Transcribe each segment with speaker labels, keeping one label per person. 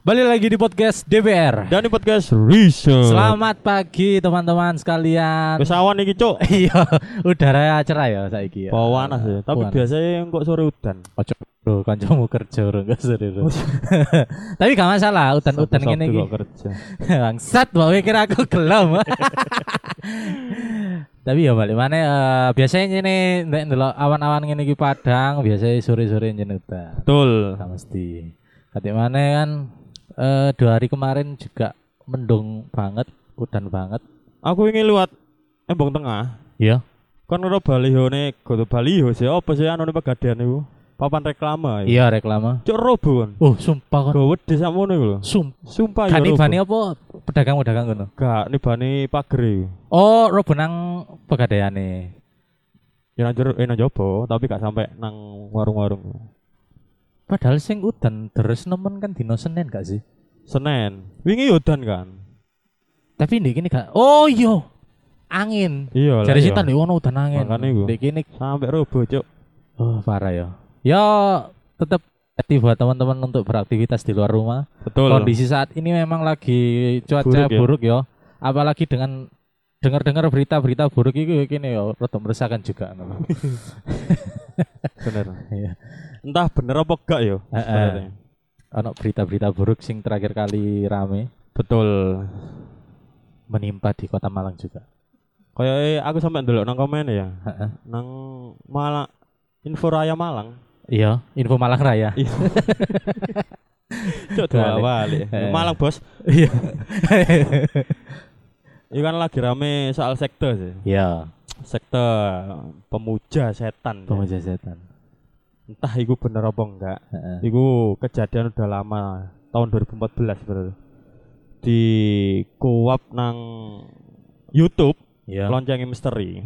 Speaker 1: Balik lagi di podcast DPR.
Speaker 2: Dan di podcast Reason.
Speaker 1: Selamat pagi teman-teman sekalian.
Speaker 2: Wis awan iki, Cuk.
Speaker 1: Iya, udara cerah ya saiki ya.
Speaker 2: Panas ya, tapi
Speaker 1: Panas.
Speaker 2: biasanya kok sore udan.
Speaker 1: Ojo bro, kancamu kerja bro, gak seru, bro. Tapi gak masalah, utan-utan
Speaker 2: Sabtu-sabtu
Speaker 1: ngene iki.
Speaker 2: kok kerja.
Speaker 1: Bangsat, bawa kira aku gelem. Tapi ya balik mana eh, biasanya ini nek ndelok awan-awan ngene iki padang, biasanya sore-sore njeneng udan.
Speaker 2: Betul.
Speaker 1: Gak mesti. Kati mana kan eh, dua hari kemarin juga mendung banget, udan banget.
Speaker 2: Aku ingin liwat embong tengah.
Speaker 1: Iya.
Speaker 2: Kon ngro baliho ne, kudu baliho sih apa sih anone pegadaian iku? Papan reklama iku.
Speaker 1: Iya reklama.
Speaker 2: Cuk robo kon.
Speaker 1: Oh sumpah kon.
Speaker 2: Gowo wedi sakmono iku lho.
Speaker 1: Sumpah.
Speaker 2: Sumpah ya
Speaker 1: Kani
Speaker 2: robo.
Speaker 1: bani apa pedagang-pedagang kono?
Speaker 2: Gak nibani pager iku.
Speaker 1: Oh, robo nang pegadaiane.
Speaker 2: Ya nang jero eh nang jopo, tapi gak sampai nang warung-warung.
Speaker 1: Padahal sing udan terus nemen kan dino Senin gak sih?
Speaker 2: Senen. Wingi udan kan.
Speaker 1: Tapi ndek kene gak. Oh iya. Angin.
Speaker 2: Iya lah.
Speaker 1: Jari
Speaker 2: iya.
Speaker 1: setan ndek ono udan angin.
Speaker 2: Makanya iku.
Speaker 1: Ndek kene
Speaker 2: Sampai robo, Cuk.
Speaker 1: oh parah ya. Ya tetap hati buat teman-teman untuk beraktivitas di luar rumah.
Speaker 2: Betul.
Speaker 1: kondisi saat ini memang lagi cuaca
Speaker 2: Buruk ya.
Speaker 1: buruk, ya. Apalagi dengan dengar-dengar berita-berita buruk itu gini ya, rada meresahkan juga. no.
Speaker 2: bener.
Speaker 1: Iya.
Speaker 2: Entah bener apa gak ya.
Speaker 1: Eh, eh.
Speaker 2: sebenarnya.
Speaker 1: Ono berita-berita buruk sing terakhir kali rame
Speaker 2: Betul.
Speaker 1: menimpa di Kota Malang juga.
Speaker 2: Kayak eh, aku sampai ndelok nang komen ya.
Speaker 1: Heeh.
Speaker 2: Nang Malang Info Raya Malang.
Speaker 1: Iya, info Malang Raya.
Speaker 2: Cuk dua
Speaker 1: Balik.
Speaker 2: balik.
Speaker 1: Eh.
Speaker 2: Malang, Bos.
Speaker 1: Iya.
Speaker 2: Ini kan lagi rame soal sekte sih.
Speaker 1: Iya,
Speaker 2: Sekte pemuja setan. ya.
Speaker 1: pemuja setan.
Speaker 2: Entah itu bener apa enggak.
Speaker 1: Heeh.
Speaker 2: Itu kejadian udah lama tahun 2014 bener. Di kuap nang YouTube
Speaker 1: Iya.
Speaker 2: loncengi misteri.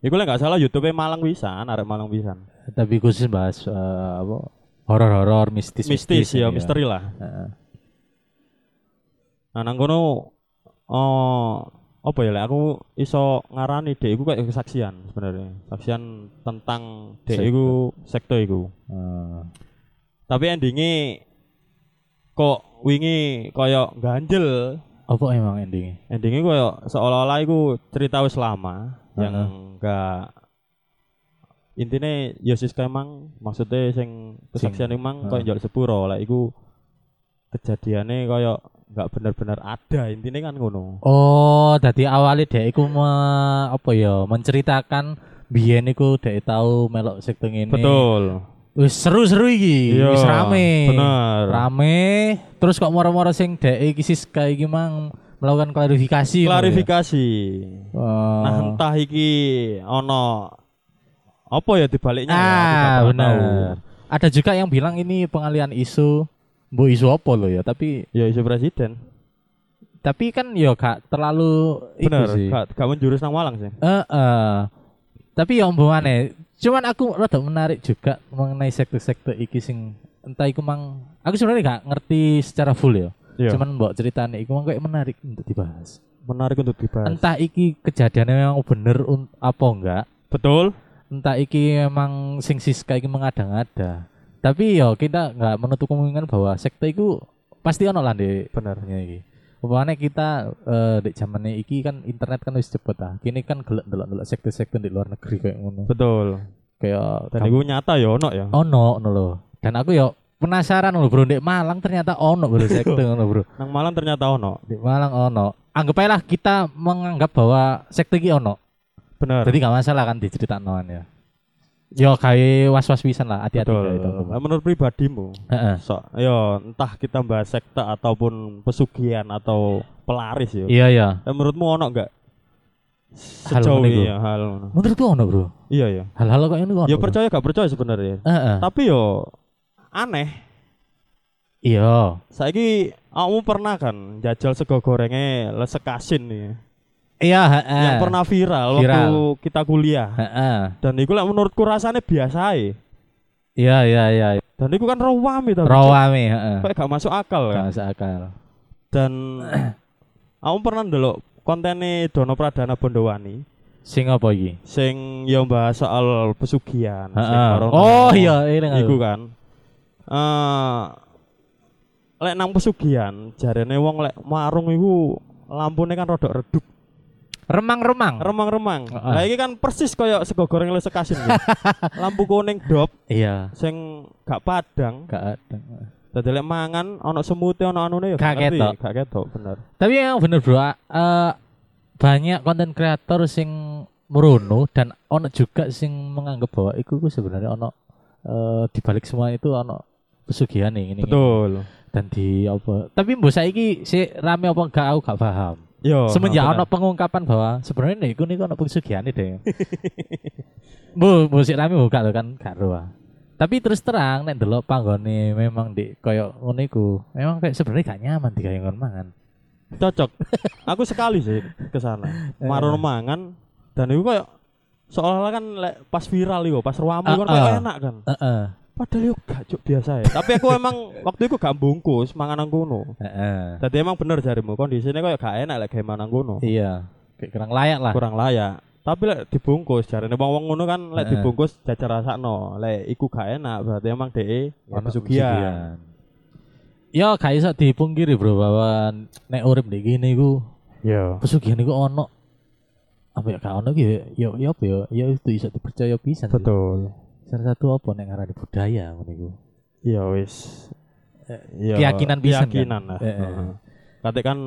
Speaker 2: Iku lek gak salah YouTube-e Malang Wisan, arek Malang Wisan.
Speaker 1: Tapi khusus bahas eh, apa? Horor-horor mistis. iya,
Speaker 2: Mistis, ya, misteri lah.
Speaker 1: Heeh.
Speaker 2: Nah, nang kono oh apa ya lek aku iso ngarani dhek iku kayak kesaksian sebenarnya. Kesaksian tentang dhek
Speaker 1: Sekte.
Speaker 2: iku sekte iku.
Speaker 1: Eh,
Speaker 2: Tapi endinge kok wingi koyo ganjel.
Speaker 1: apa emang endingnya?
Speaker 2: Endinge koyo seolah-olah iku cerita wis lama yang
Speaker 1: Heeh.
Speaker 2: enggak intine Yesus emang maksudnya sing kesaksian emang koyo
Speaker 1: heeh.
Speaker 2: njol sepuro lek iku kejadiannya koyo enggak bener-bener ada intine kan ngono.
Speaker 1: Oh, dadi awalnya dhek iku me- apa ya, menceritakan biyen iku dhek tau melok sekte ngene.
Speaker 2: Betul.
Speaker 1: Wis seru-seru iki,
Speaker 2: Iya,
Speaker 1: wis rame.
Speaker 2: Bener.
Speaker 1: Rame, terus kok moro-moro sing dhek iki siska iki mang melakukan klarifikasi.
Speaker 2: Klarifikasi.
Speaker 1: ngono ya. Oh.
Speaker 2: Nah, entah iki ono apa ya dibaliknya ya, aku gak
Speaker 1: ah,
Speaker 2: pernah
Speaker 1: bener.
Speaker 2: tahu.
Speaker 1: Ada juga yang bilang ini pengalian isu Mbok isu apa lo ya, tapi
Speaker 2: Ya isu presiden.
Speaker 1: tapi kan ya gak terlalu
Speaker 2: Bener,
Speaker 1: itu sih.
Speaker 2: gak, gak menjurus nang Malang sih.
Speaker 1: Eh, eh. tapi ya omongannya cuman aku rada menarik juga mengenai sekte-sekte iki sing entah iku mang aku sebenarnya gak ngerti secara full ya
Speaker 2: Iya.
Speaker 1: cuman mbok ceritanya iku mang kayak menarik untuk dibahas
Speaker 2: menarik untuk dibahas.
Speaker 1: entah iki kejadiannya memang bener un- apa enggak
Speaker 2: Betul.
Speaker 1: entah iki memang sing siska iki mengada-ngada tapi yo kita nggak menutup kemungkinan bahwa sekte iku pasti ono lah di
Speaker 2: Bener.
Speaker 1: Ya iki. Umpamane kita eh di zaman iki kan internet kan wis cepet ah. Kini kan gelek delok-delok sekte-sekte di luar negeri kayak ngono.
Speaker 2: Betul.
Speaker 1: Kayak
Speaker 2: Dan
Speaker 1: kamu- Oh.
Speaker 2: iku nyata ya ono ya.
Speaker 1: ono ngono lho. Dan aku yo penasaran lho Bro, Ndek Malang ternyata ono Bro sekte ngono Bro.
Speaker 2: Nang Malang ternyata ono.
Speaker 1: Ndek Malang ono. Anggap aja lah kita menganggap bahwa sekte iki ono.
Speaker 2: Bener.
Speaker 1: Jadi gak masalah kan diceritakan ya. Yo kayak was-was pisan lah hati-hati
Speaker 2: Betul.
Speaker 1: kayak itu.
Speaker 2: Nah, menurut pribadimu,
Speaker 1: Heeh.
Speaker 2: so, yo entah kita bahas sekte ataupun pesugihan atau pelaris ya.
Speaker 1: Iya iya.
Speaker 2: Eh, menurutmu ono enggak?
Speaker 1: Hal
Speaker 2: Sejauh
Speaker 1: ngono iku?
Speaker 2: ini ya hal ngono.
Speaker 1: Menurutku ono Bro.
Speaker 2: Iya ya.
Speaker 1: Hal-hal kayak ini ono.
Speaker 2: Ya
Speaker 1: Bro.
Speaker 2: percaya gak percaya sebenarnya.
Speaker 1: Heeh.
Speaker 2: Tapi yo aneh.
Speaker 1: Iya.
Speaker 2: Saiki kamu pernah kan jajal sego gorengnya lesek asin nih. ya?
Speaker 1: Iya, heeh.
Speaker 2: Yang pernah viral, waktu
Speaker 1: Viral.
Speaker 2: kita kuliah.
Speaker 1: Heeh.
Speaker 2: Dan iku lah menurutku rasanya biasa ya.
Speaker 1: Iya iya iya.
Speaker 2: Dan iku kan rawami tapi
Speaker 1: Rawame, heeh.
Speaker 2: kayak gak masuk akal
Speaker 1: Gak
Speaker 2: kan.
Speaker 1: masuk akal.
Speaker 2: Dan kamu pernah ndelok kontennya Dono Pradana Bondowani
Speaker 1: Sing apa iki?
Speaker 2: sing yang bahas soal pesugihan sing
Speaker 1: Oh, Heeh.
Speaker 2: orang-
Speaker 1: Oh iya, ini
Speaker 2: iku kan eh lek nang pesugihan jarene wong lek marung iku lampune kan rodok redup
Speaker 1: Remang-remang.
Speaker 2: remang-remang
Speaker 1: Hmm. Heeh.
Speaker 2: lah iki kan persis koyo sego goreng lesek asin gitu. lampu kuning dop
Speaker 1: Iya.
Speaker 2: sing gak padang
Speaker 1: Gak ada.
Speaker 2: dadi lek mangan ana semute ana anune ya
Speaker 1: Gak
Speaker 2: ngerti,
Speaker 1: ketok.
Speaker 2: gak ketok bener
Speaker 1: Tapi yang bener bro, eh, banyak konten kreator sing merono dan ono juga sing menganggap bahwa iku ku sebenarnya ono eh, dibalik semua itu ono pesugihan nih ini
Speaker 2: betul
Speaker 1: dan di apa tapi mbok saiki si rame apa enggak aku Oh, gak paham
Speaker 2: yo
Speaker 1: semenjak
Speaker 2: Iya, bener.
Speaker 1: ono pengungkapan bahwa sebenarnya nih iku niku ono pesugihan deh bu bu si rame buka lo kan gak roh ah. tapi terus terang nek delok panggone memang di koyo ngono iku memang kayak sebenarnya gak nyaman digawe ngon mangan
Speaker 2: cocok aku sekali sih ke sana
Speaker 1: Eh.
Speaker 2: marun mangan dan itu kayak seolah-olah kan lek pas viral iku pas ruamu kan
Speaker 1: Ah,
Speaker 2: kayak
Speaker 1: ah.
Speaker 2: enak kan
Speaker 1: heeh
Speaker 2: padahal yo gak cuk biasa ya tapi aku emang waktu itu gak bungkus mangan nang kono
Speaker 1: heeh
Speaker 2: Tadi emang bener jarimu kondisinya kayak gak enak lek kayak mangan kono
Speaker 1: Iya, kayak kurang layak lah.
Speaker 2: kurang layak tapi lek dibungkus jarene wong wong ngono kan lek
Speaker 1: Eh.
Speaker 2: dibungkus jajar rasakno lek iku gak enak berarti emang dhek
Speaker 1: Ono
Speaker 2: pesugihan
Speaker 1: pesugihan. Ya gak iso dipungkiri bro bahwa nek urip di gini ku
Speaker 2: yo
Speaker 1: pesugihan iku ono apa ya gak ono ki ya ya ya apa ya ya itu iso dipercaya pisan. sih.
Speaker 2: betul
Speaker 1: Salah satu apa nek ngarani budaya ngono iku.
Speaker 2: ya wis Ya,
Speaker 1: keyakinan pisan kan?
Speaker 2: keyakinan lah
Speaker 1: Eh, eh.
Speaker 2: Heeh. Kate kan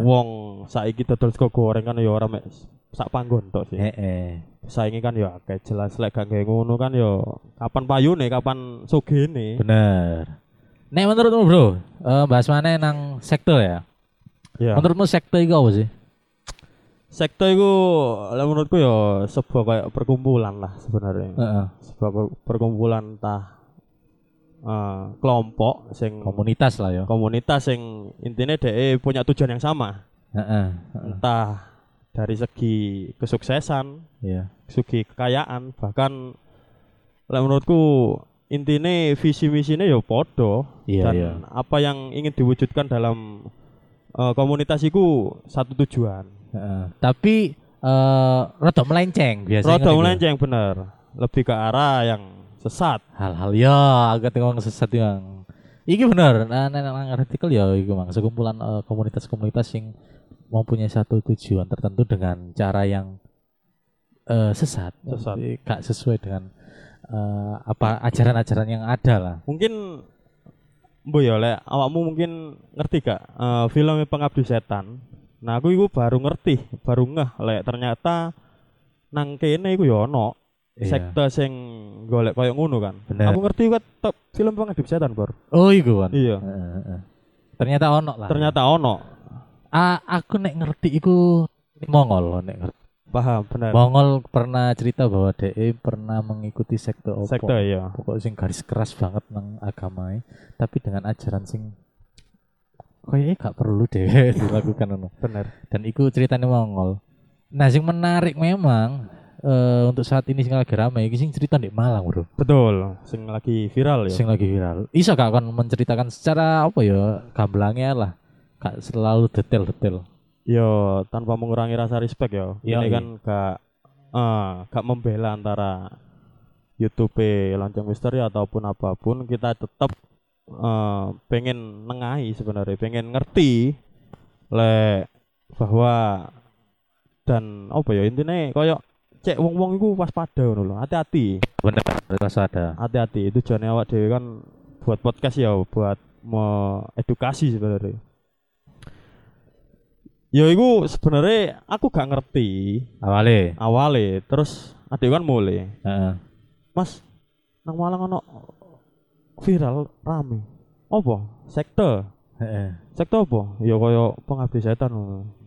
Speaker 2: wong saiki dodol sego goreng kan ya ora mek sak panggon
Speaker 1: Eh.
Speaker 2: tok sih
Speaker 1: Heeh.
Speaker 2: saingi kan ya akeh jelas lek gak nggae ngono kan ya kapan payune kapan sugene
Speaker 1: Bener. Nek menurutmu bro, eh bahas mana nang sektor ya?
Speaker 2: ya
Speaker 1: Menurutmu sektor itu apa sih?
Speaker 2: sekte iku lek menurutku ya sebuah kayak perkumpulan lah sebenarnya
Speaker 1: Heeh.
Speaker 2: sebuah per- perkumpulan tah eh, kelompok sing
Speaker 1: Komunitas lah ya.
Speaker 2: komunitas sing intinya dhek punya tujuan yang sama
Speaker 1: Heeh.
Speaker 2: entah dari segi kesuksesan
Speaker 1: Iya.
Speaker 2: segi kekayaan bahkan lek menurutku intine visi misinya ya podo
Speaker 1: Iya,
Speaker 2: dan
Speaker 1: iya.
Speaker 2: apa yang ingin diwujudkan dalam eh, komunitas itu satu tujuan
Speaker 1: Heeh. Tapi eh rada melenceng biasanya.
Speaker 2: roda
Speaker 1: kan itu.
Speaker 2: melenceng bener lebih ke arah yang sesat
Speaker 1: Hal-hal ya agak tengok sesat yang. Iki bener, nah, nah, nah, artikel ya iki mang sekumpulan eh, komunitas-komunitas yang mempunyai satu tujuan tertentu dengan cara yang eh, sesat.
Speaker 2: Sesat.
Speaker 1: Jadi, Gak sesuai dengan eh, apa ajaran-ajaran yang ada lah.
Speaker 2: mungkin bu ya lek awakmu mungkin ngerti gak eh, filmnya pengabdi setan nah aku itu baru ngerti baru ngeh lek ternyata nang kene iku ya ono
Speaker 1: Iya.
Speaker 2: sekte sing golek koyo ngono kan.
Speaker 1: Bener.
Speaker 2: Aku ngerti kok top film pengabdi setan, Bor.
Speaker 1: Oh, iku kan.
Speaker 2: Iya.
Speaker 1: Heeh, heeh. Ternyata ono lah.
Speaker 2: Ternyata ono.
Speaker 1: Ah, aku nek ngerti iku Mongol nek ngerti.
Speaker 2: Paham, bener.
Speaker 1: Mongol pernah cerita bahwa DE pernah mengikuti sekte opo.
Speaker 2: Sekte ya.
Speaker 1: Pokok sing garis keras banget nang agamae, tapi dengan ajaran sing kayaknya gak perlu deh dilakukan ngono.
Speaker 2: Bener.
Speaker 1: Dan iku ceritanya Mongol. Nah, sing menarik memang eh, untuk saat ini sing lagi rame iki sing cerita di Malang, Bro.
Speaker 2: Betul. Sing lagi viral ya.
Speaker 1: Sing lagi viral. Iso gak akan menceritakan secara apa ya, gamblangnya lah. Gak selalu detail-detail.
Speaker 2: Yo tanpa mengurangi rasa respect ya.
Speaker 1: Iya,
Speaker 2: Ini
Speaker 1: iya.
Speaker 2: kan gak eh, gak membela antara YouTube e lonceng misteri ataupun apapun kita tetap eh, pengen nengahi sebenarnya pengen ngerti lek bahwa dan apa ya intinya koyo cek wong-wong iku waspada ngono lho hati-hati
Speaker 1: Bener, rasa ada.
Speaker 2: hati-hati itu tujuannya awak dewi kan buat podcast ya buat mau edukasi sebenarnya ya itu sebenarnya aku gak ngerti
Speaker 1: Awale.
Speaker 2: awalnya terus adik kan mulai
Speaker 1: Heeh.
Speaker 2: mas nang malang ono viral rame apa sekte
Speaker 1: Heeh.
Speaker 2: sekte apa ya kaya pengabdi setan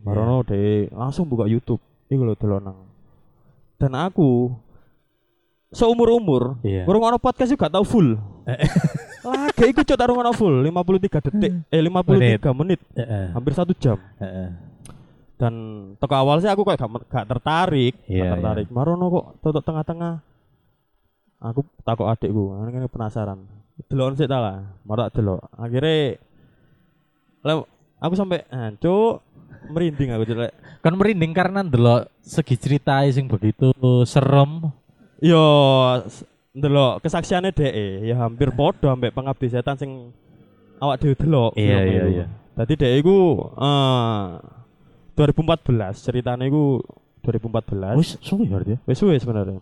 Speaker 2: barono de langsung buka YouTube iku lho delonang dan aku seumur umur
Speaker 1: Iya. Eh.
Speaker 2: Burung ono podcast juga gak tau full. Lagi ikut cok tak rungokno full 53 detik
Speaker 1: Hmm.
Speaker 2: eh 53 menit.
Speaker 1: Heeh.
Speaker 2: hampir satu jam.
Speaker 1: Heeh.
Speaker 2: Dan toko awal sih aku kok gak, gak tertarik,
Speaker 1: Iya,
Speaker 2: gak tertarik. Marono kok tutup tengah-tengah. Aku takut adikku, ini penasaran. Delon sih tak lah, marak delok. Akhirnya lem- aku sampai hancur merinding aku jelek.
Speaker 1: kan merinding karena ndelok segi cerita sing begitu serem
Speaker 2: Yo E. ndelok kesaksiannya DE ya hampir podo ambek pengabdi setan sing awak dhewe delok.
Speaker 1: Iya,
Speaker 2: filmnya
Speaker 1: iya,
Speaker 2: iku.
Speaker 1: iya.
Speaker 2: Dadi dhek iku eh 2014 ceritane iku 2014.
Speaker 1: Wis suwi berarti.
Speaker 2: Wis suwe sebenarnya.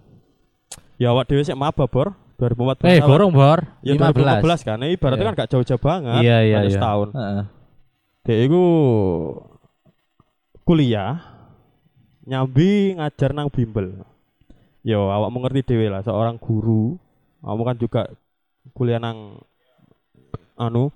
Speaker 2: Ya awak dhewe sik maba bor 2014.
Speaker 1: Eh,
Speaker 2: awak-
Speaker 1: borong bor.
Speaker 2: Ya
Speaker 1: 15.
Speaker 2: 2015 kan, ini ibaratnya
Speaker 1: Iya.
Speaker 2: kan gak jauh-jauh banget.
Speaker 1: Iya, iya,
Speaker 2: hanya
Speaker 1: iya.
Speaker 2: setahun.
Speaker 1: Heeh.
Speaker 2: Dia itu kuliah nyambi ngajar nang bimbel. Yo awak mengerti dewe lah seorang guru. Kamu kan juga kuliah nang anu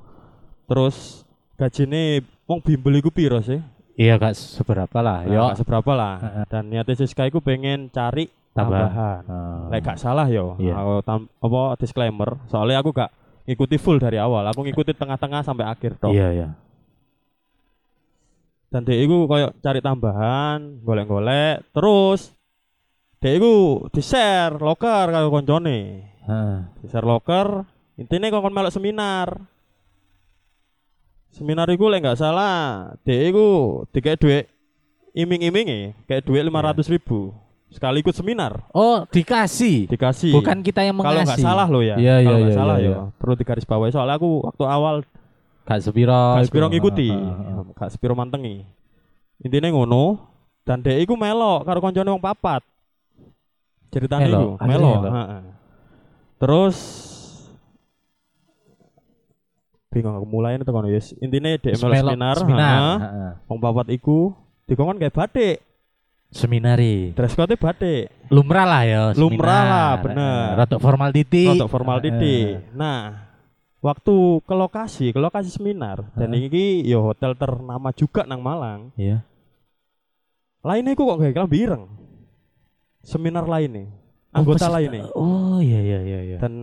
Speaker 2: terus gajine wong bimbel iku piro sih?
Speaker 1: Iya gak seberapa lah.
Speaker 2: Nah,
Speaker 1: Yo.
Speaker 2: gak seberapa lah.
Speaker 1: Heeh.
Speaker 2: Dan niatnya Siska iku pengen cari
Speaker 1: Tambah.
Speaker 2: tambahan.
Speaker 1: Ah.
Speaker 2: Lek gak salah yo.
Speaker 1: Iya.
Speaker 2: Aku tam, apa disclaimer, soalnya aku gak ngikuti full dari awal. Aku ngikuti tengah-tengah sampai akhir tok.
Speaker 1: Iya, iya.
Speaker 2: Dan dia iku koyo cari tambahan, golek-golek, terus dia iku di-share loker karo koncone.
Speaker 1: Heeh.
Speaker 2: Di-share loker, intine kok kon melok seminar. Seminar iku lek gak salah, dia iku dikek dhuwit iming-iminge
Speaker 1: Iya.
Speaker 2: kayak dhuwit 500.000 ribu sekali ikut seminar
Speaker 1: Oh, dikasih.
Speaker 2: dikasih
Speaker 1: Bukan kita yang
Speaker 2: kalau
Speaker 1: mengasih.
Speaker 2: nggak salah lo ya
Speaker 1: Iya,
Speaker 2: kalau
Speaker 1: iya,
Speaker 2: nggak
Speaker 1: iya,
Speaker 2: salah
Speaker 1: iya,
Speaker 2: ya perlu digaris bawahi soalnya aku waktu awal
Speaker 1: Gak sepiro.
Speaker 2: gak
Speaker 1: iku.
Speaker 2: sepiro ngikuti
Speaker 1: Heeh, heeh.
Speaker 2: gak sepiro mantengi intinya ngono dan dek iku melok karo koncone wong papat ceritanya
Speaker 1: Melok,
Speaker 2: iku
Speaker 1: akhirnya
Speaker 2: melok
Speaker 1: melok.
Speaker 2: heeh. terus bingung aku mulai nih tekan yes intinya dek
Speaker 1: Terus
Speaker 2: melok
Speaker 1: melok
Speaker 2: seminar
Speaker 1: seminar.
Speaker 2: heeh.
Speaker 1: heeh.
Speaker 2: wong papat iku dikongkon kayak batik
Speaker 1: Seminari.
Speaker 2: dress code batik
Speaker 1: Lumrah lah ya. seminar.
Speaker 2: Lumrah lah, bener.
Speaker 1: Heeh, Rotok formal titik.
Speaker 2: Untuk formal
Speaker 1: Heeh.
Speaker 2: titik. Nah, waktu ke lokasi, ke lokasi seminar dan ini yo hotel ternama juga nang Malang.
Speaker 1: Iya.
Speaker 2: Lainnya aku kok gak kelam bireng. Seminar lainnya,
Speaker 1: Oh,
Speaker 2: anggota
Speaker 1: peserta-
Speaker 2: lainnya.
Speaker 1: Oh, iya iya iya iya.
Speaker 2: Dan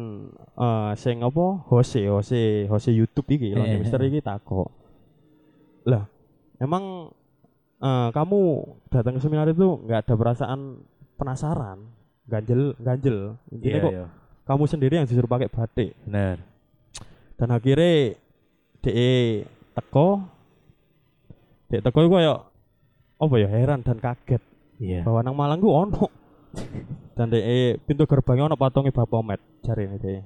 Speaker 2: eh sing apa? Hose, Hose, Hose YouTube iki,
Speaker 1: Iya, iya,
Speaker 2: London Mister iki takok. Lah, emang eh kamu datang ke seminar itu nggak ada perasaan penasaran, ganjel, ganjel. Intinya
Speaker 1: Iya,
Speaker 2: kok
Speaker 1: iya.
Speaker 2: kamu sendiri yang disuruh pakai batik.
Speaker 1: Bener.
Speaker 2: dan akhirnya de teko de teko iku koyo apa ya heran dan kaget
Speaker 1: Iya.
Speaker 2: bahwa nang Malang ku ono dan de pintu gerbangnya ono patungnya Bapomet jari ini de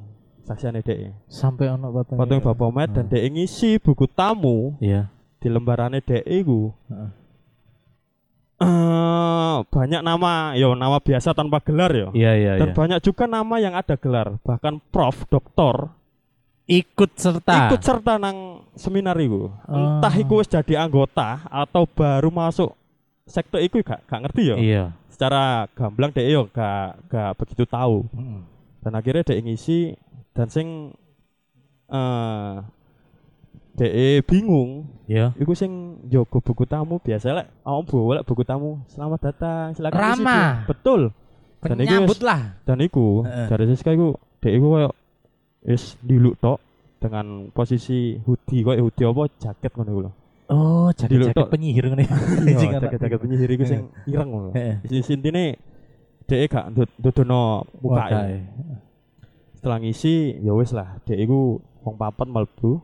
Speaker 2: saksiannya
Speaker 1: Iya.
Speaker 2: de
Speaker 1: Sampai ono batang.
Speaker 2: patungnya Bapomet
Speaker 1: Ah.
Speaker 2: dan de ngisi buku tamu
Speaker 1: Iya.
Speaker 2: di lembarannya de iku
Speaker 1: Heeh.
Speaker 2: Eh, banyak nama yo nama biasa tanpa gelar yo
Speaker 1: Iya iya
Speaker 2: dan
Speaker 1: iya.
Speaker 2: banyak juga nama yang ada gelar bahkan prof doktor
Speaker 1: Ikut serta.
Speaker 2: ikut serta nang seminar iku.
Speaker 1: Ah.
Speaker 2: Entah iku wis jadi anggota atau baru masuk sektor iku gak gak ngerti ya.
Speaker 1: Iya.
Speaker 2: Secara gamblang dek yo gak gak begitu tahu.
Speaker 1: Heeh.
Speaker 2: Dan akhirnya dek ngisi dan sing eh dek bingung
Speaker 1: Iya.
Speaker 2: iku sing njogo buku tamu biasa lek awak bawa lek buku tamu selamat datang silakan isi, Bu."
Speaker 1: Ramah.
Speaker 2: betul Dan iki
Speaker 1: Penyambut
Speaker 2: wis-
Speaker 1: lah.
Speaker 2: dan iku
Speaker 1: Heeh.
Speaker 2: dari Siska iku dek iku koyo is diluk tok dengan posisi hoodie koyo hoodie apa jaket ngono iku lho.
Speaker 1: Oh, jadi
Speaker 2: Diluk
Speaker 1: jaket
Speaker 2: tok.
Speaker 1: penyihir ngene.
Speaker 2: Iya,
Speaker 1: Jing anak.
Speaker 2: jaket-jaket penyihir iku sing ireng ngono.
Speaker 1: Heeh.
Speaker 2: Isi intine dek gak ndud- ndudono mukake.
Speaker 1: Wadah.
Speaker 2: Setelah ngisi ya wis lah dek iku wong papat mlebu.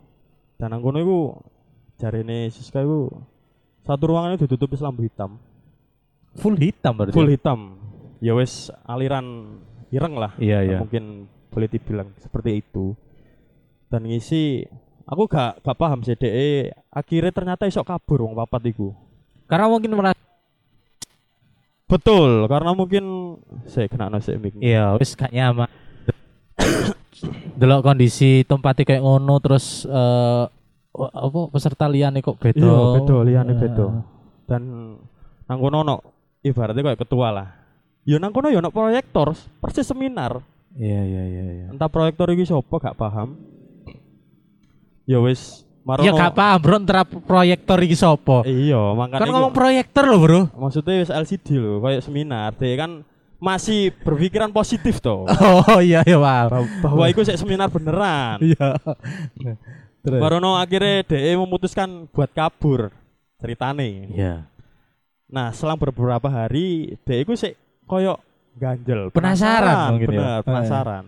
Speaker 2: Dan nang kono iku jarine Siska iku satu ruangan itu ditutupi lampu hitam.
Speaker 1: Full hitam berarti.
Speaker 2: Full hitam. Ya wis aliran ireng lah.
Speaker 1: Iya iya.
Speaker 2: mungkin boleh dibilang seperti itu dan ngisi aku gak gak paham sih DE akhirnya ternyata isok kabur wong papat iku
Speaker 1: Karena mungkin merasa
Speaker 2: betul karena mungkin saya kena nasi mic
Speaker 1: iya wis gak nyaman. Delok kondisi tempatnya kayak ngono terus eh wa- apa peserta liane kok beda.
Speaker 2: iya bedo liane
Speaker 1: Eh,
Speaker 2: bedo dan nang kono ono ibaratnya kayak ketua lah yo nang kono yo ono proyektor persis seminar
Speaker 1: Iya iya iya iya.
Speaker 2: entah proyektor iki sapa gak paham ya wis marono
Speaker 1: Ya gak paham bro antara proyektor iki sopo
Speaker 2: iya makanya
Speaker 1: Kan
Speaker 2: iku-
Speaker 1: ngomong proyektor loh bro
Speaker 2: maksudnya wis LCD loh kayak seminar dia kan masih berpikiran positif toh
Speaker 1: Oh iya iya paham
Speaker 2: Bah- bahwa itu sek seminar beneran
Speaker 1: Iya Terus
Speaker 2: Barono akhirnya DE memutuskan buat kabur ceritane
Speaker 1: Iya
Speaker 2: nah selang beberapa hari DE ku sik koyok ganjel
Speaker 1: Penasaran mungkin ya.
Speaker 2: bener
Speaker 1: Eh.
Speaker 2: penasaran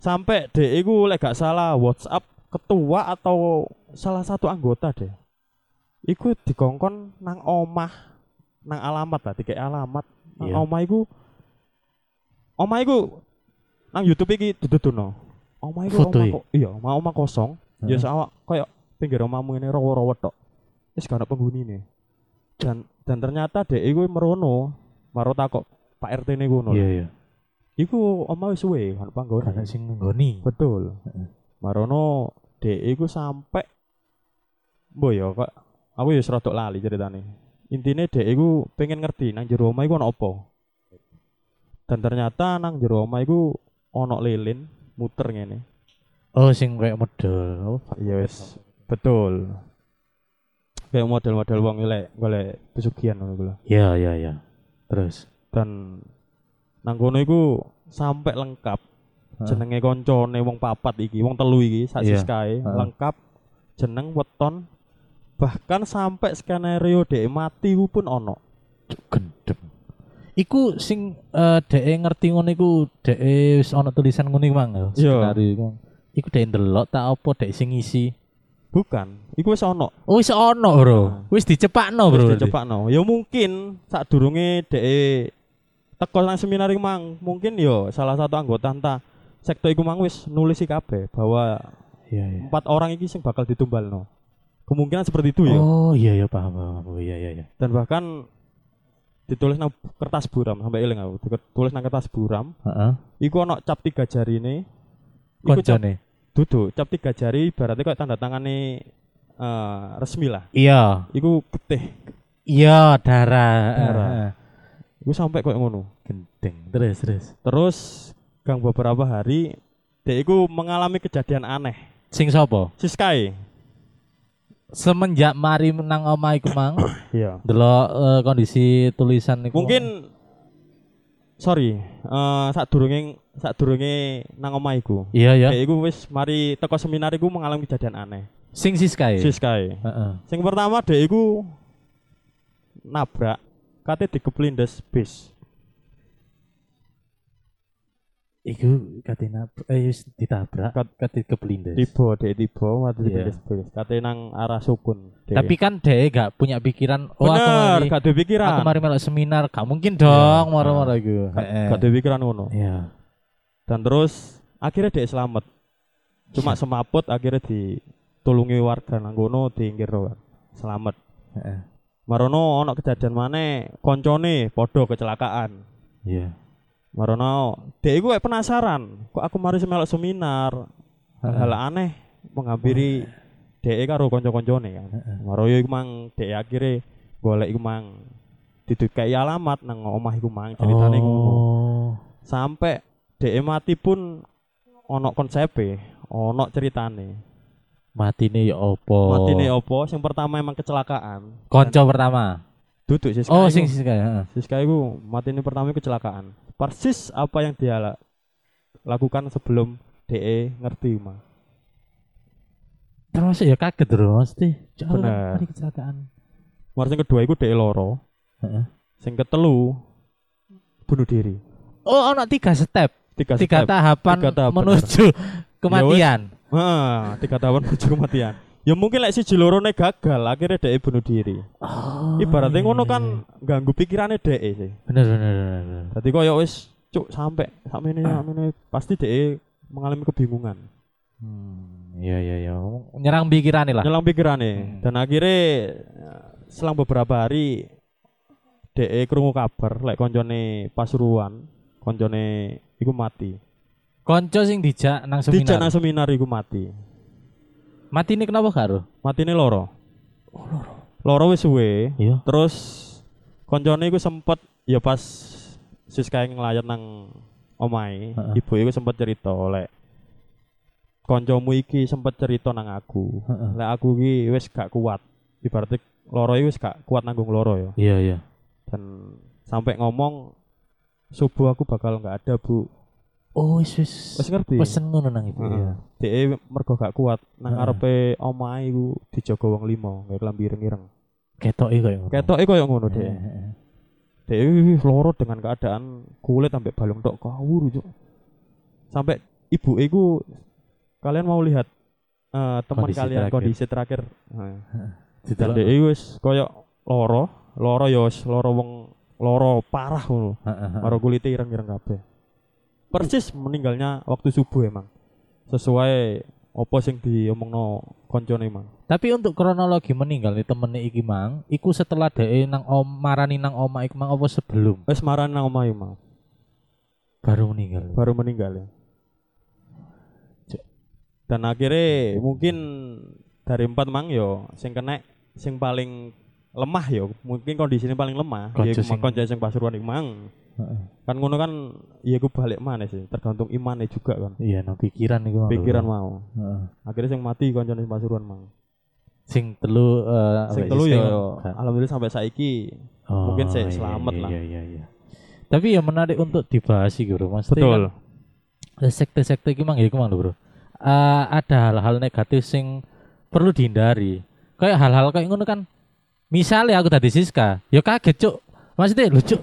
Speaker 2: sampai DE ku lek gak salah WhatsApp ketua atau salah satu anggota deh iku dikongkon nang omah nang alamat lah tiga alamat nang
Speaker 1: Iya.
Speaker 2: Oh, omah iku omah iku nang YouTube iki dududono omah iku
Speaker 1: Foto e?
Speaker 2: omah
Speaker 1: i?
Speaker 2: ko- iya omah omah kosong ya awak koyo pinggir omahmu ini rowo-rowo tok wis gak ono penghunine dan dan ternyata dek iku merono maro takok Pak RT ne ngono
Speaker 1: Iya iya.
Speaker 2: iku omah wis suwe gak ono panggonan
Speaker 1: Karena sing nggoni.
Speaker 2: betul
Speaker 1: Heeh.
Speaker 2: marono dek iku sampe mbo ya kok aku ya rodok lali ceritane intine dek iku pengen ngerti nang jero omah iku ono apa dan ternyata nang jero omah iku ono lilin muter ngene
Speaker 1: Oh sing kayak model. Oh, fuck.
Speaker 2: Iya wis. Betul. Kayak model-model wong golek golek pesugihan ngono kuwi lho.
Speaker 1: Iya iya iya. Terus.
Speaker 2: Dan nang kono iku sampai lengkap
Speaker 1: Hah?
Speaker 2: jenenge koncone wong papat iki, wong telu iki sak
Speaker 1: Iya.
Speaker 2: siskae
Speaker 1: Heeh.
Speaker 2: lengkap jeneng weton bahkan sampai skenario dhek mati ku pun ono.
Speaker 1: Cuk, Gendeng. Iku sing eh dhek ngerti ngono iku dhek wis ana tulisan ngono iku mang. ya,
Speaker 2: Iya.
Speaker 1: skenario iku. Iku dhek ndelok tak apa dhek sing ngisi.
Speaker 2: Bukan, iku wis ono.
Speaker 1: Oh wis ono, Bro. Wis dicepakno, Oh, Bro.
Speaker 2: Terus dicepakno. Ya mungkin sadurunge dhek teko nang seminar iku mang, mungkin yo salah satu anggota entah sektor iku mang wis nulis iki kabeh bahwa
Speaker 1: Iya iya.
Speaker 2: empat orang iki sing bakal ditumbalno. Kemungkinan seperti itu ya.
Speaker 1: Oh iya iya paham paham. Oh iya iya iya.
Speaker 2: Dan bahkan ditulis nang kertas buram sampai eling aku. Ditulis nang kertas buram,
Speaker 1: Heeh.
Speaker 2: iku ono cap tiga jari ini. Iku cap
Speaker 1: Koncone.
Speaker 2: duduk, cap tiga jari ibaratnya kayak tanda tangane eh, resmi lah.
Speaker 1: Iya.
Speaker 2: Iku getih.
Speaker 1: Iya darah.
Speaker 2: Darah.
Speaker 1: Heeh.
Speaker 2: Iku sampai kayak ngono.
Speaker 1: Gendeng. Terus terus.
Speaker 2: Terus gang beberapa hari dia iku mengalami kejadian aneh.
Speaker 1: Sing sapa?
Speaker 2: Si Sky.
Speaker 1: Semenjak mari nang omah iku mang,
Speaker 2: Iya.
Speaker 1: delok eh, kondisi tulisan iku.
Speaker 2: Mungkin sorry, eh saat durunge saat durunge nang omah iku.
Speaker 1: Iya iya.
Speaker 2: Dia iku wis mari teko seminar iku mengalami kejadian aneh.
Speaker 1: Sing siskae.
Speaker 2: Si Sky.
Speaker 1: Heeh.
Speaker 2: Sing pertama dia iku nabrak kate digeplindes bis.
Speaker 1: Iku katina eh wis ditabrak
Speaker 2: Kat- Iya.
Speaker 1: katit keblindes.
Speaker 2: Tiba dia tiba mati
Speaker 1: Iya.
Speaker 2: digeplindes bis. Kate nang arah sukun. Dek.
Speaker 1: Tapi kan dhek gak punya pikiran oh aku
Speaker 2: bener,
Speaker 1: mari
Speaker 2: gak ada pikiran.
Speaker 1: aku mari melok seminar, gak mungkin dong
Speaker 2: Iya.
Speaker 1: moro-moro iku.
Speaker 2: Gak-
Speaker 1: Heeh.
Speaker 2: gak ada pikiran ngono.
Speaker 1: Iya.
Speaker 2: dan terus akhirnya dia selamat cuma semaput akhirnya ditulungi warga nang kono diinggir wae. selamat
Speaker 1: Heeh.
Speaker 2: marono ono kejadian mana koncone podo kecelakaan
Speaker 1: Iya.
Speaker 2: marono dia iku kayak penasaran kok aku mari semelok seminar hal aneh menghampiri dia karo konco-koncone kan
Speaker 1: Heeh.
Speaker 2: maro yo iku mang dia akhirnya golek iku mang didukai alamat nang omah iku mang ceritane ngono
Speaker 1: Oh.
Speaker 2: sampai DE mati pun ono konsepe, ono ceritane.
Speaker 1: Matine ya opo?
Speaker 2: Matine opo? Sing pertama emang kecelakaan.
Speaker 1: Konco pertama.
Speaker 2: Duduk Siska.
Speaker 1: Oh,
Speaker 2: iku.
Speaker 1: sing siskae. Heeh.
Speaker 2: Siska iku matine pertama kecelakaan. Persis apa yang dia la- lakukan sebelum DE ngerti mah.
Speaker 1: Termasuk ya kaget bro, mesti. Cuk, aku
Speaker 2: Bener.
Speaker 1: kan Tadi kecelakaan.
Speaker 2: Mar sing kedua iku DE loro.
Speaker 1: Heeh.
Speaker 2: Sing ketelu bunuh diri.
Speaker 1: Oh, ono tiga step,
Speaker 2: Tiga,
Speaker 1: tiga
Speaker 2: step.
Speaker 1: tahapan Ya
Speaker 2: Tiga tahap,
Speaker 1: menuju kematian.
Speaker 2: Heeh, tiga tahun menuju kematian. Ya mungkin lek siji loro ne gagal akhirnya DE bunuh diri.
Speaker 1: Oh,
Speaker 2: Ibaratnya
Speaker 1: iya,
Speaker 2: ngono
Speaker 1: iya, iya.
Speaker 2: kan ganggu pikirannya DE e sih.
Speaker 1: Bener bener bener. bener.
Speaker 2: Dadi koyo wis cuk sampe sakmene
Speaker 1: Ah.
Speaker 2: sakmene pasti dhek e mengalami kebingungan.
Speaker 1: Hmm, iya iya iya. Nyerang pikiran lah.
Speaker 2: Nyelang pikirane
Speaker 1: Hmm.
Speaker 2: dan akhirnya eh, selang beberapa hari dhek e krungu kabar lek koncone Pasuruan, koncone iku mati.
Speaker 1: Konco sing dijak nang seminar.
Speaker 2: Dijak nang seminar iku mati.
Speaker 1: Mati ini kenapa karo?
Speaker 2: Matine loro. loro. wis suwe.
Speaker 1: Iya.
Speaker 2: Terus koncone iku sempet ya pas Siska yang ngelayat nang omahe,
Speaker 1: Heeh.
Speaker 2: ibu iku sempet cerita lek koncomu iki sempet cerita nang aku.
Speaker 1: Heeh.
Speaker 2: Lek aku iki wis gak kuat. Ibaratnya loro iki wis gak kuat nanggung loro ya.
Speaker 1: Iya iya.
Speaker 2: Dan sampai ngomong subuh aku bakal nggak ada, Bu.
Speaker 1: Oh wis wis.
Speaker 2: Wis ngerti.
Speaker 1: Pesen ngono nang ibu.
Speaker 2: Heeh.
Speaker 1: Iya.
Speaker 2: Dhek mergo gak kuat nang
Speaker 1: Heeh.
Speaker 2: arepe omahe iku dijogo wong limo, kayak klambi ireng-ireng.
Speaker 1: Ketoke koyo ngono.
Speaker 2: Ketoke e koyo ngono,
Speaker 1: Heeh,
Speaker 2: Dek.
Speaker 1: heeh.
Speaker 2: Dewi loro dengan keadaan kulit sampai balung tok kawur Cuk. Sampai ibu iku kalian mau lihat eh, teman
Speaker 1: Kondisi
Speaker 2: kalian
Speaker 1: terakhir.
Speaker 2: kondisi terakhir. Heeh. Dan
Speaker 1: Didelok.
Speaker 2: Dewi wis koyo loro, loro yo wis loro wong loro parah ngono.
Speaker 1: Heeh, heeh.
Speaker 2: Loro kulite ireng-ireng kabeh. Persis meninggalnya waktu subuh emang. Sesuai apa sing diomongno koncone mang.
Speaker 1: Tapi untuk kronologi meninggal nih temen iki mang, iku setelah dhek nang om marani nang oma iku mang apa sebelum
Speaker 2: Wis marani nang omahe mang,
Speaker 1: baru meninggal.
Speaker 2: baru meninggal ya. Dan akhirnya mungkin dari empat mang yo sing kena sing paling lemah yo mungkin kondisinya paling lemah
Speaker 1: Konco
Speaker 2: ya iku
Speaker 1: sing-
Speaker 2: mang konco sing pasuruan iku mang
Speaker 1: Heeh.
Speaker 2: kan ngono kan ya iku balik mana sih tergantung imane juga kan
Speaker 1: Iya, nang pikiran iku. mang.
Speaker 2: pikiran mau
Speaker 1: Heeh.
Speaker 2: akhirnya sing mati konco sing pasuruan mang
Speaker 1: Sing telu eh,
Speaker 2: sing
Speaker 1: apa,
Speaker 2: telu
Speaker 1: sing-
Speaker 2: ya alhamdulillah sampai saiki
Speaker 1: Oh,
Speaker 2: Mungkin sih
Speaker 1: iya,
Speaker 2: selamat
Speaker 1: iya,
Speaker 2: lah.
Speaker 1: Iya, iya, iya. Tapi ya menarik untuk dibahas sih, Bro. Maksudnya kan eh, sekte-sekte iki mang ya iku mang lho, Bro. Eh, ada hal-hal negatif sing perlu dihindari. Kayak hal-hal kayak ngono kan. Misalnya aku tadi Siska, ya kaget, Cuk. Maksudnya lu, Cuk.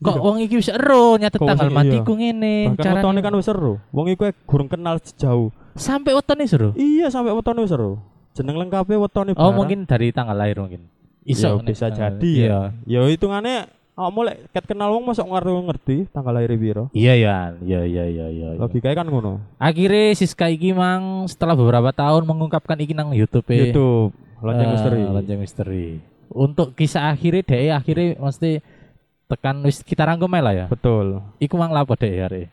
Speaker 1: Kok
Speaker 2: Iya.
Speaker 1: wong iki wis ero nyatet
Speaker 2: Kok
Speaker 1: tanggal
Speaker 2: wis- iya.
Speaker 1: matiku ngene,
Speaker 2: bahkan wetone
Speaker 1: carane
Speaker 2: kan wis seru wong iku gurung kenal sejauh
Speaker 1: sampai wetone seru.
Speaker 2: iya sampai wetone wis seru jeneng lengkapnya
Speaker 1: Oh,
Speaker 2: wetone barang.
Speaker 1: mungkin dari tanggal lahir mungkin. Iso
Speaker 2: Ya,
Speaker 1: nek
Speaker 2: bisa
Speaker 1: tanggal-
Speaker 2: jadi ya.
Speaker 1: Iya.
Speaker 2: ya hitungannya awakmu lek ket kenal wong masuk ngerti ngerti tanggal lahir piro
Speaker 1: Iya, iya, iya, iya, iya, iya. iya.
Speaker 2: logikanya kan ngono
Speaker 1: Akhirnya Siska iki mang setelah beberapa tahun mengungkapkan iki nang YouTube. e.
Speaker 2: YouTube lonceng
Speaker 1: Ah,
Speaker 2: misteri
Speaker 1: Lonceng misteri. Untuk kisah akhirnya deh akhirnya mesti tekan wis kita rangkum ae lah ya.
Speaker 2: betul
Speaker 1: Iku mang lapo deh hari.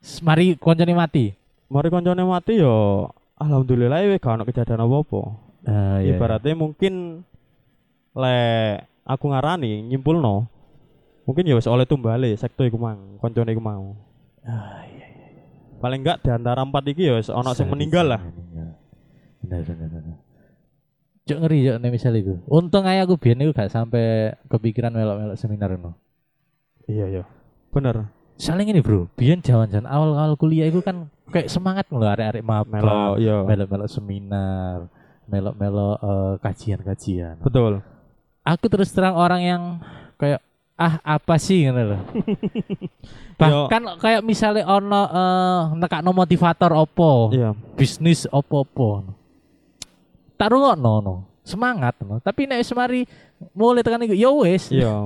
Speaker 1: S- Mari koncone mati.
Speaker 2: mari koncone mati yo alhamdulillah ya gak ono kejadian apa-apa
Speaker 1: Ah, iya, iya.
Speaker 2: ibaratnya mungkin lek aku ngarani nyimpulno mungkin ya wis oleh tumbale sektor iku mang koncone iku mau
Speaker 1: Ah, iya.
Speaker 2: paling enggak di antara empat iki ya wis ono sing
Speaker 1: Bisa,
Speaker 2: meninggal
Speaker 1: bisa,
Speaker 2: lah
Speaker 1: meninggal. Bener bener bener. Cuk ngeri cuk nek misal iku. Untung ae aku biyen iku gak sampai kepikiran melok-melok seminar ngono.
Speaker 2: iya iya bener
Speaker 1: Soalnya ini bro, biyen jaman-jaman awal-awal kuliah itu kan kayak semangat mulu arek-arek maba,
Speaker 2: melo iya
Speaker 1: melok-melok seminar, melok-melok eh, kajian-kajian.
Speaker 2: betul
Speaker 1: aku terus terang orang yang kayak ah apa sih gitu loh. Bahkan kan kayak misalnya ono eh, nekakno motivator opo,
Speaker 2: iya
Speaker 1: bisnis opo-opo. Taruh no, no. semangat no. Tapi nek wis mari mulai tekan iku yo wis.
Speaker 2: iya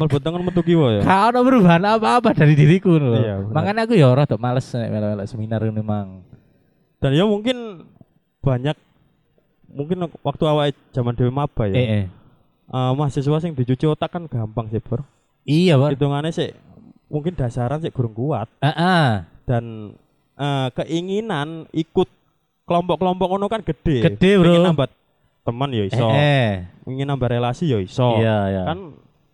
Speaker 2: mlebu tengen metu kiwa ya
Speaker 1: Gak ono perubahan apa-apa dari diriku lho.
Speaker 2: Iya, bener.
Speaker 1: Makanya aku ya ora tuh males nek melok-melok seminar ini mang.
Speaker 2: dan ya mungkin banyak mungkin waktu awal zaman dewe maba
Speaker 1: Eh,
Speaker 2: ya
Speaker 1: eh.
Speaker 2: Eh, mahasiswa sing dicuci otak kan gampang sih bro
Speaker 1: Iya, Bang. Eh,
Speaker 2: hitungannya sih mungkin dasaran sih kurang kuat
Speaker 1: Heeh.
Speaker 2: dan eh, keinginan ikut kelompok-kelompok ngono kan gede.
Speaker 1: Gede, Bro.
Speaker 2: Ingin nambah teman ya
Speaker 1: Eh,
Speaker 2: iso,
Speaker 1: eh.
Speaker 2: ingin nambah relasi ya iso.
Speaker 1: Iya, iya. Kan
Speaker 2: Kan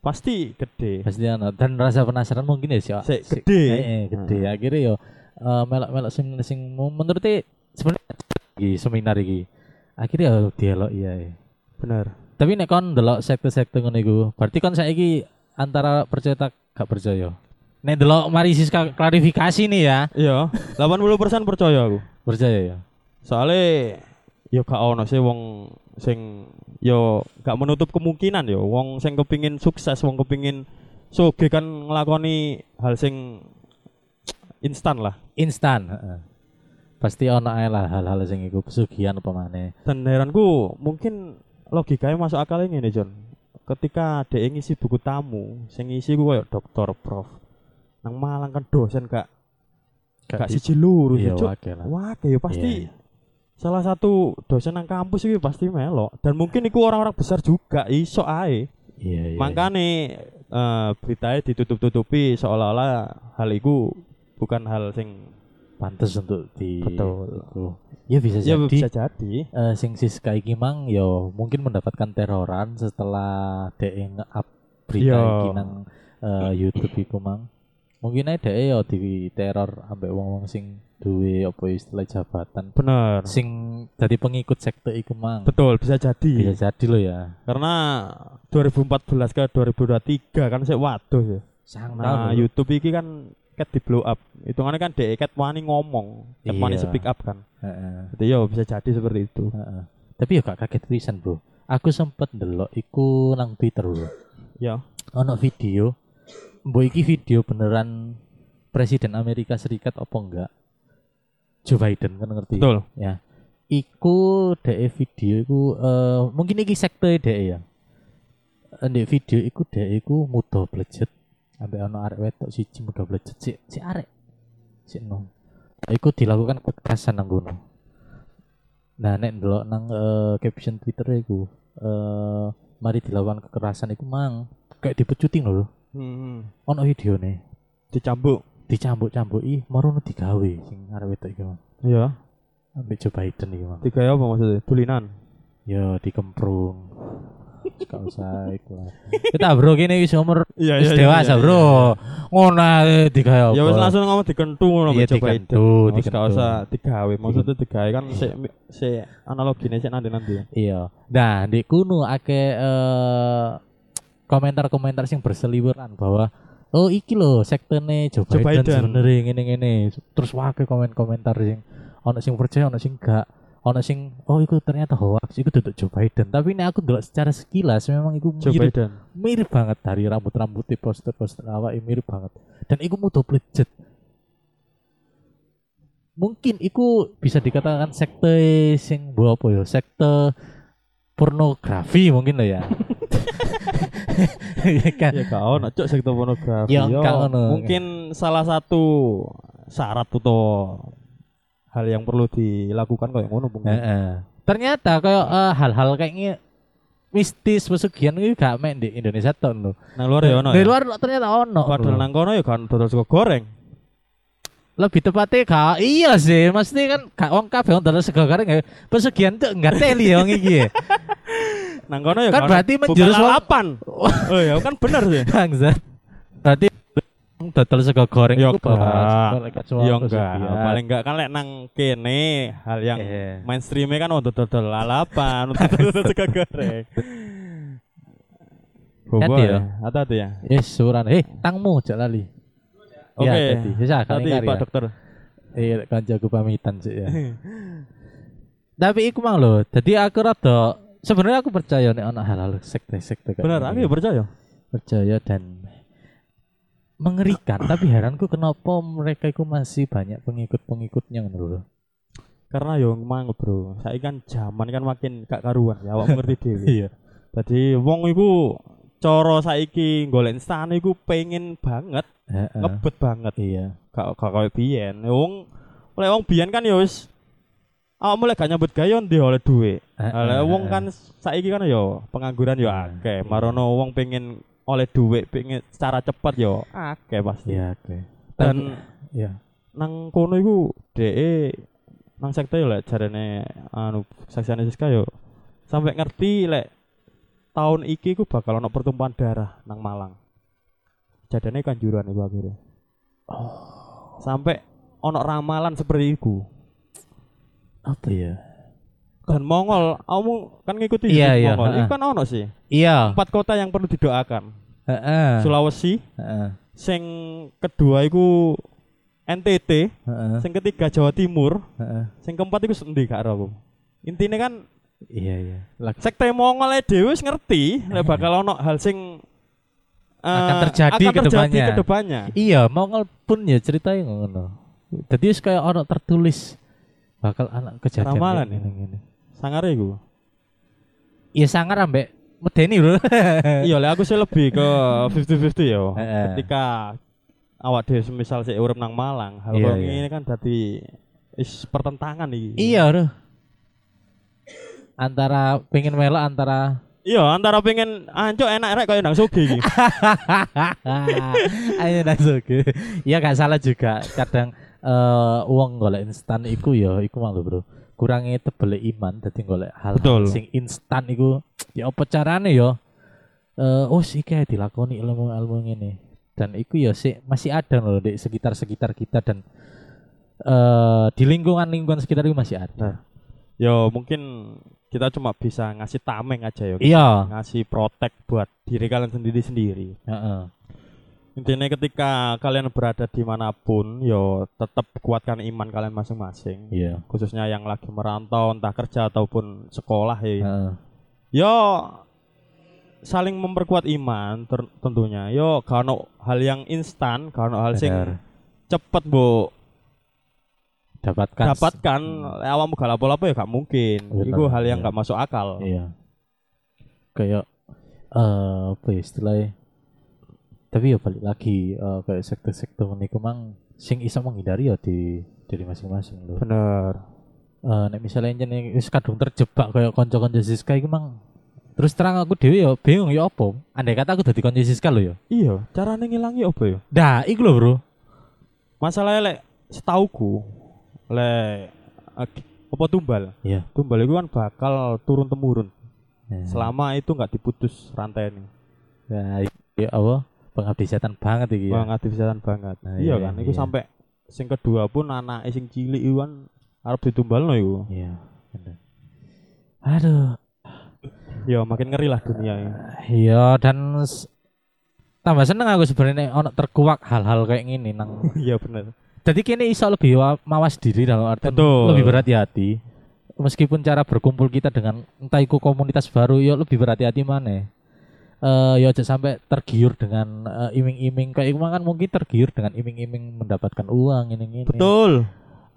Speaker 2: pasti gede.
Speaker 1: pasti ono. dan rasa penasaran mungkin ya sih. Wak.
Speaker 2: Iya. Sik Hmm.
Speaker 1: Sik-
Speaker 2: gede.
Speaker 1: Eh, eh, gede. Akhirnya yo eh, melok-melok seminar sing mu- menurut e sebenarnya iki seminar iki. Akhirnya yo dialog iya. iya.
Speaker 2: Bener.
Speaker 1: Tapi nek kon ndelok sekte-sekte ngono iku, berarti kon saiki antara percaya tak gak percaya. Nek ndelok mari Siska klarifikasi nih ya,
Speaker 2: Iya, 80% percaya aku.
Speaker 1: percaya ya.
Speaker 2: Soalnya ya gak ono sih wong sing yo gak menutup kemungkinan yo wong sing kepingin sukses, wong kepingin soge kan nglakoni hal sing instan lah.
Speaker 1: Instan, heeh. Pasti ono ae lah hal-hal sing iku pesugihan apa maneh.
Speaker 2: dan heranku mungkin logikanya masuk akal ini John ketika ada yang ngisi buku tamu sing ngisi gue kayak dokter prof nang malang kan dosen gak gak siji lurus
Speaker 1: Iya,
Speaker 2: ya Cuk.
Speaker 1: wakil lah.
Speaker 2: wah kayak pasti
Speaker 1: Iya, iya.
Speaker 2: salah satu dosen nang kampus itu pasti melok dan mungkin itu orang-orang besar juga iso ae
Speaker 1: Iya, iya.
Speaker 2: makanya eh, beritanya ditutup-tutupi seolah-olah hal itu bukan hal sing
Speaker 1: pantes untuk di
Speaker 2: Betul.
Speaker 1: iku. Ya bisa
Speaker 2: ya
Speaker 1: jadi.
Speaker 2: bisa jadi
Speaker 1: Eh, sing Siska iki mang yo mungkin mendapatkan teroran setelah dhek nge-up berita
Speaker 2: Yo.
Speaker 1: iki nang eh, YouTube iku mang. Mungkin ae dhek yo diteror ambek wong-wong sing duwe apa ya, istilah jabatan
Speaker 2: bener
Speaker 1: sing dadi pengikut sekte iku mang.
Speaker 2: betul bisa jadi
Speaker 1: Bisa jadi lo ya.
Speaker 2: karena 2014 ke 2023 kan saya waduh ya.
Speaker 1: Sang
Speaker 2: Nah,
Speaker 1: lho.
Speaker 2: YouTube iki kan ket di blow up. Hitungannya kan dek ket wani ngomong, ket wani
Speaker 1: Iya.
Speaker 2: speak up kan.
Speaker 1: Heeh,
Speaker 2: Jadi yo bisa jadi seperti itu.
Speaker 1: heeh. Tapi yo gak kaget pisan, Bro. Aku sempet ndelok iku nang Twitter lho. Iya.
Speaker 2: Ya.
Speaker 1: ono video mbok iki video beneran presiden Amerika Serikat apa enggak Joe Biden kan ngerti
Speaker 2: Betul.
Speaker 1: iku dek video iku eh, mungkin iki sekte dek ya Eh, ndek video iku dek iku muda blejet sampai ono arek wetok siji muda blejet si si arek si no iku dilakukan kekerasan nang kono Nah, nek ndelok nang eh, caption Twitter iku eh mari dilawan kekerasan iku mang kayak dipecutin lho.
Speaker 2: Hmm.
Speaker 1: Ono videone
Speaker 2: Dicambuk.
Speaker 1: dicambuk-cambuki marono digawe sing arep wedok iku. Mang.
Speaker 2: Iya.
Speaker 1: Ambek Joe Biden iku mang.
Speaker 2: Tiga ya apa maksudnya? Tulinan.
Speaker 1: Yo dikemprung. Gak usah iku. lah. Kita bro kene wis umur
Speaker 2: Iya,
Speaker 1: wis dewasa, Bro. Ngono ae digawe.
Speaker 2: Ya wis
Speaker 1: apa.
Speaker 2: langsung ngomong dikentu ngono
Speaker 1: Iya,
Speaker 2: Mbak Joe Biden.
Speaker 1: dikentu,
Speaker 2: Wis gak
Speaker 1: dikentu.
Speaker 2: usah digawe. Maksudnya digawe kan sik sik analogine sik nanti-nanti.
Speaker 1: Iya. Nah, di kuno ake eh, komentar-komentar sing berseliweran bahwa oh iki lho sektene Joe
Speaker 2: Joe
Speaker 1: Biden,
Speaker 2: Biden.
Speaker 1: sebenere ngene-ngene. Terus wae komen-komentar sing ono sing percaya ono sing gak ono sing oh iku ternyata hoax iku duduk Joe Biden tapi ini aku ndelok secara sekilas memang iku
Speaker 2: Joe
Speaker 1: mirip,
Speaker 2: Biden.
Speaker 1: mirip banget dari rambut-rambut poster-poster awak ya, mirip banget dan iku mudah blejet mungkin iku bisa dikatakan sekte sing bu apa ya sekte pornografi mungkin lo ya Iya kan
Speaker 2: Ya gak ono cuk sektor pornografi.
Speaker 1: Ya,
Speaker 2: Yo,
Speaker 1: gak ono.
Speaker 2: Mungkin salah satu syarat atau hal yang perlu dilakukan kayak ngono mungkin.
Speaker 1: Heeh. ternyata kayak eh, hal-hal kayak gini mistis pesugihan itu gak main di Indonesia tuh lo
Speaker 2: Nang luar ya ono.
Speaker 1: di
Speaker 2: ya?
Speaker 1: luar lo ternyata ono
Speaker 2: Padahal
Speaker 1: lo.
Speaker 2: nang kono ya kan dodol sego goreng.
Speaker 1: lebih tepatnya gak iya sih maksudnya kan gak wong kabeh wong dalam sego kareng ya pesugihan tuh enggak teli ya wong iki ya.
Speaker 2: Nang kono ya
Speaker 1: Kan berarti menjurus
Speaker 2: bukan
Speaker 1: wong- iya,
Speaker 2: lalapan. Oh ya kan bener sih.
Speaker 1: bangsat berarti wong dodol sego goreng
Speaker 2: Ya
Speaker 1: iku bakal-
Speaker 2: enggak.
Speaker 1: bakal suara
Speaker 2: Ya enggak,
Speaker 1: pesugihan.
Speaker 2: paling enggak kan lek nang kene hal yang
Speaker 1: Eh.
Speaker 2: mainstreamnya kan untuk dodol lalapan, untuk dodol sego goreng. Bobo
Speaker 1: Hati ya.
Speaker 2: ya, hati-hati ya.
Speaker 1: Eh, suran. Eh, tangmu jak lali.
Speaker 2: Oke,
Speaker 1: Ya, tadi. Bisa kali ya.
Speaker 2: hati Pak Dokter.
Speaker 1: Eh, kancaku pamitan sih ya. Tapi iku mang lho, dadi aku rada sebenarnya aku percaya nek ana hal-hal sekte-sekte kayak
Speaker 2: Bener,
Speaker 1: gini.
Speaker 2: aku ya percaya.
Speaker 1: percaya dan mengerikan tapi heranku kenapa mereka itu masih banyak pengikut-pengikutnya ngono lho.
Speaker 2: Karena yo mang bro, saya kan zaman kan makin gak karuan ya, awak ngerti dhewe.
Speaker 1: Iya.
Speaker 2: Jadi wong iku cara saiki golek instan iku pengen banget, ngebet banget.
Speaker 1: Iya.
Speaker 2: gak gak koyo biyen. Ya, Wong oleh wong biyen kan ya wis awakmu mulai gak nyambut gawe ndi oleh duit. Lah wong kan saiki kan ya pengangguran ya akeh. Marono wong pengen oleh duit pengen secara cepat ya akeh pasti.
Speaker 1: Iya, oke.
Speaker 2: Dan
Speaker 1: iya.
Speaker 2: nang kono iku dhek nang sekte ya lek jarene anu saksiane Siska yo sampai ngerti lek tahun iki ku bakal ono pertumpahan darah nang Malang. Jadinya kanjuran iku akhirnya. Oh. Sampai ono ramalan seperti iku.
Speaker 1: Apa ya?
Speaker 2: Dan Mongol, kamu kan ngikuti
Speaker 1: Iya,
Speaker 2: YouTube
Speaker 1: iya,
Speaker 2: Mongol. Iku
Speaker 1: ha-ha.
Speaker 2: kan ono sih.
Speaker 1: Iya.
Speaker 2: Empat kota yang perlu didoakan.
Speaker 1: Heeh.
Speaker 2: Sulawesi,
Speaker 1: Heeh.
Speaker 2: sing kedua iku NTT,
Speaker 1: Heeh.
Speaker 2: sing ketiga Jawa Timur,
Speaker 1: Heeh.
Speaker 2: sing keempat iku sendi gak ero aku. Intine kan
Speaker 1: Iya, iya. Lak-
Speaker 2: sekte Mongol e dhewe wis ngerti nek bakal ono hal sing eh,
Speaker 1: Akan terjadi
Speaker 2: akan
Speaker 1: ke depannya.
Speaker 2: ke depannya.
Speaker 1: Iya, Mongol pun ya ceritanya ngono. Jadi wis kayak orang tertulis bakal anak kejadian
Speaker 2: Ramalan
Speaker 1: kayak
Speaker 2: ya?
Speaker 1: gini.
Speaker 2: Sangare iku.
Speaker 1: Iya sangar ambek medeni lho.
Speaker 2: Iya, lek aku sih lebih ke 50-50 ya.
Speaker 1: Heeh.
Speaker 2: Ketika awak dhewe semisal sik urip nang Malang, hal
Speaker 1: Iya,
Speaker 2: kaya
Speaker 1: iya.
Speaker 2: ngene kan dadi is pertentangan iki.
Speaker 1: Iya, aduh. Antara pengen melok antara
Speaker 2: Iya, antara pengen anjuk enak rek kaya nang Sogi iki.
Speaker 1: Ayo langsung ke. Iya gak salah juga. Kadang eh uang golek instan iku ya iku malu bro. Kurangnya tebel iman dadi golek hal
Speaker 2: Betul.
Speaker 1: sing instan iku ya apa carane ya? Eh oh sih kayak dilakoni ilmu-ilmu ngene. Dan iku ya sih masih ada loh di sekitar-sekitar kita dan eh di lingkungan-lingkungan sekitar itu masih ada.
Speaker 2: Yo mungkin kita cuma bisa ngasih tameng aja ya.
Speaker 1: Iya,
Speaker 2: Ngasih protek buat diri kalian sendiri-sendiri.
Speaker 1: heeh.
Speaker 2: intinya ketika kalian berada dimanapun yo tetap kuatkan iman kalian masing-masing
Speaker 1: Iya.
Speaker 2: khususnya yang lagi merantau entah kerja ataupun sekolah ya
Speaker 1: Heeh.
Speaker 2: yo saling memperkuat iman ter- tentunya yo kano hal yang instan kano hal sing
Speaker 1: Bener.
Speaker 2: cepet bu
Speaker 1: Dapatkan
Speaker 2: dapatkan
Speaker 1: Hmm.
Speaker 2: awakmu gak lapo-lapo ya gak mungkin
Speaker 1: Bener,
Speaker 2: itu hal yang
Speaker 1: iya.
Speaker 2: gak masuk akal
Speaker 1: Iya. Kayak eh apa ya istilahnya? Tapi ya balik lagi eh, kayak sektor-sektor meniku mang sing iso menghindari ya di diri masing-masing lho.
Speaker 2: bener
Speaker 1: eh nek misalnya jen yang wis kadung terjebak kayak kanca-kanca Siska iku mang terus terang aku dhewe ya bingung ya apa. Andai kata aku dadi kanca Siska lho ya.
Speaker 2: Iya, carane ngilangi apa ya?
Speaker 1: Nah, iku lho, Bro.
Speaker 2: Masalahnya lek setauku lek ak- apa tumbal?
Speaker 1: Iya.
Speaker 2: Tumbal itu kan bakal turun temurun
Speaker 1: Ya.
Speaker 2: Nah, selama itu nggak diputus rantainya.
Speaker 1: Nah, iki apa? Pengabdi setan banget iki ya.
Speaker 2: Wah, ngati-hatian banget.
Speaker 1: Nah,
Speaker 2: iya,
Speaker 1: iya,
Speaker 2: kan, iku
Speaker 1: iya.
Speaker 2: sampai sing kedua pun anak sing cilik iku kan arep ditumbalno iku.
Speaker 1: Iya. bener. Aduh,
Speaker 2: Ya makin ngeri lah dunia ini.
Speaker 1: Iya dan s- tambah seneng aku sebenarnya ono terkuak hal-hal kayak gini nang.
Speaker 2: Iya bener.
Speaker 1: Jadi kini iso lebih wa- mawas diri dalam arti
Speaker 2: Betul.
Speaker 1: lebih berhati-hati. Meskipun cara berkumpul kita dengan entah iku komunitas baru ya lebih berhati-hati mana. Eh ya aja sampai tergiur dengan eh, iming-iming kayak iku mah kan mungkin tergiur dengan iming-iming mendapatkan uang ini ini.
Speaker 2: Betul.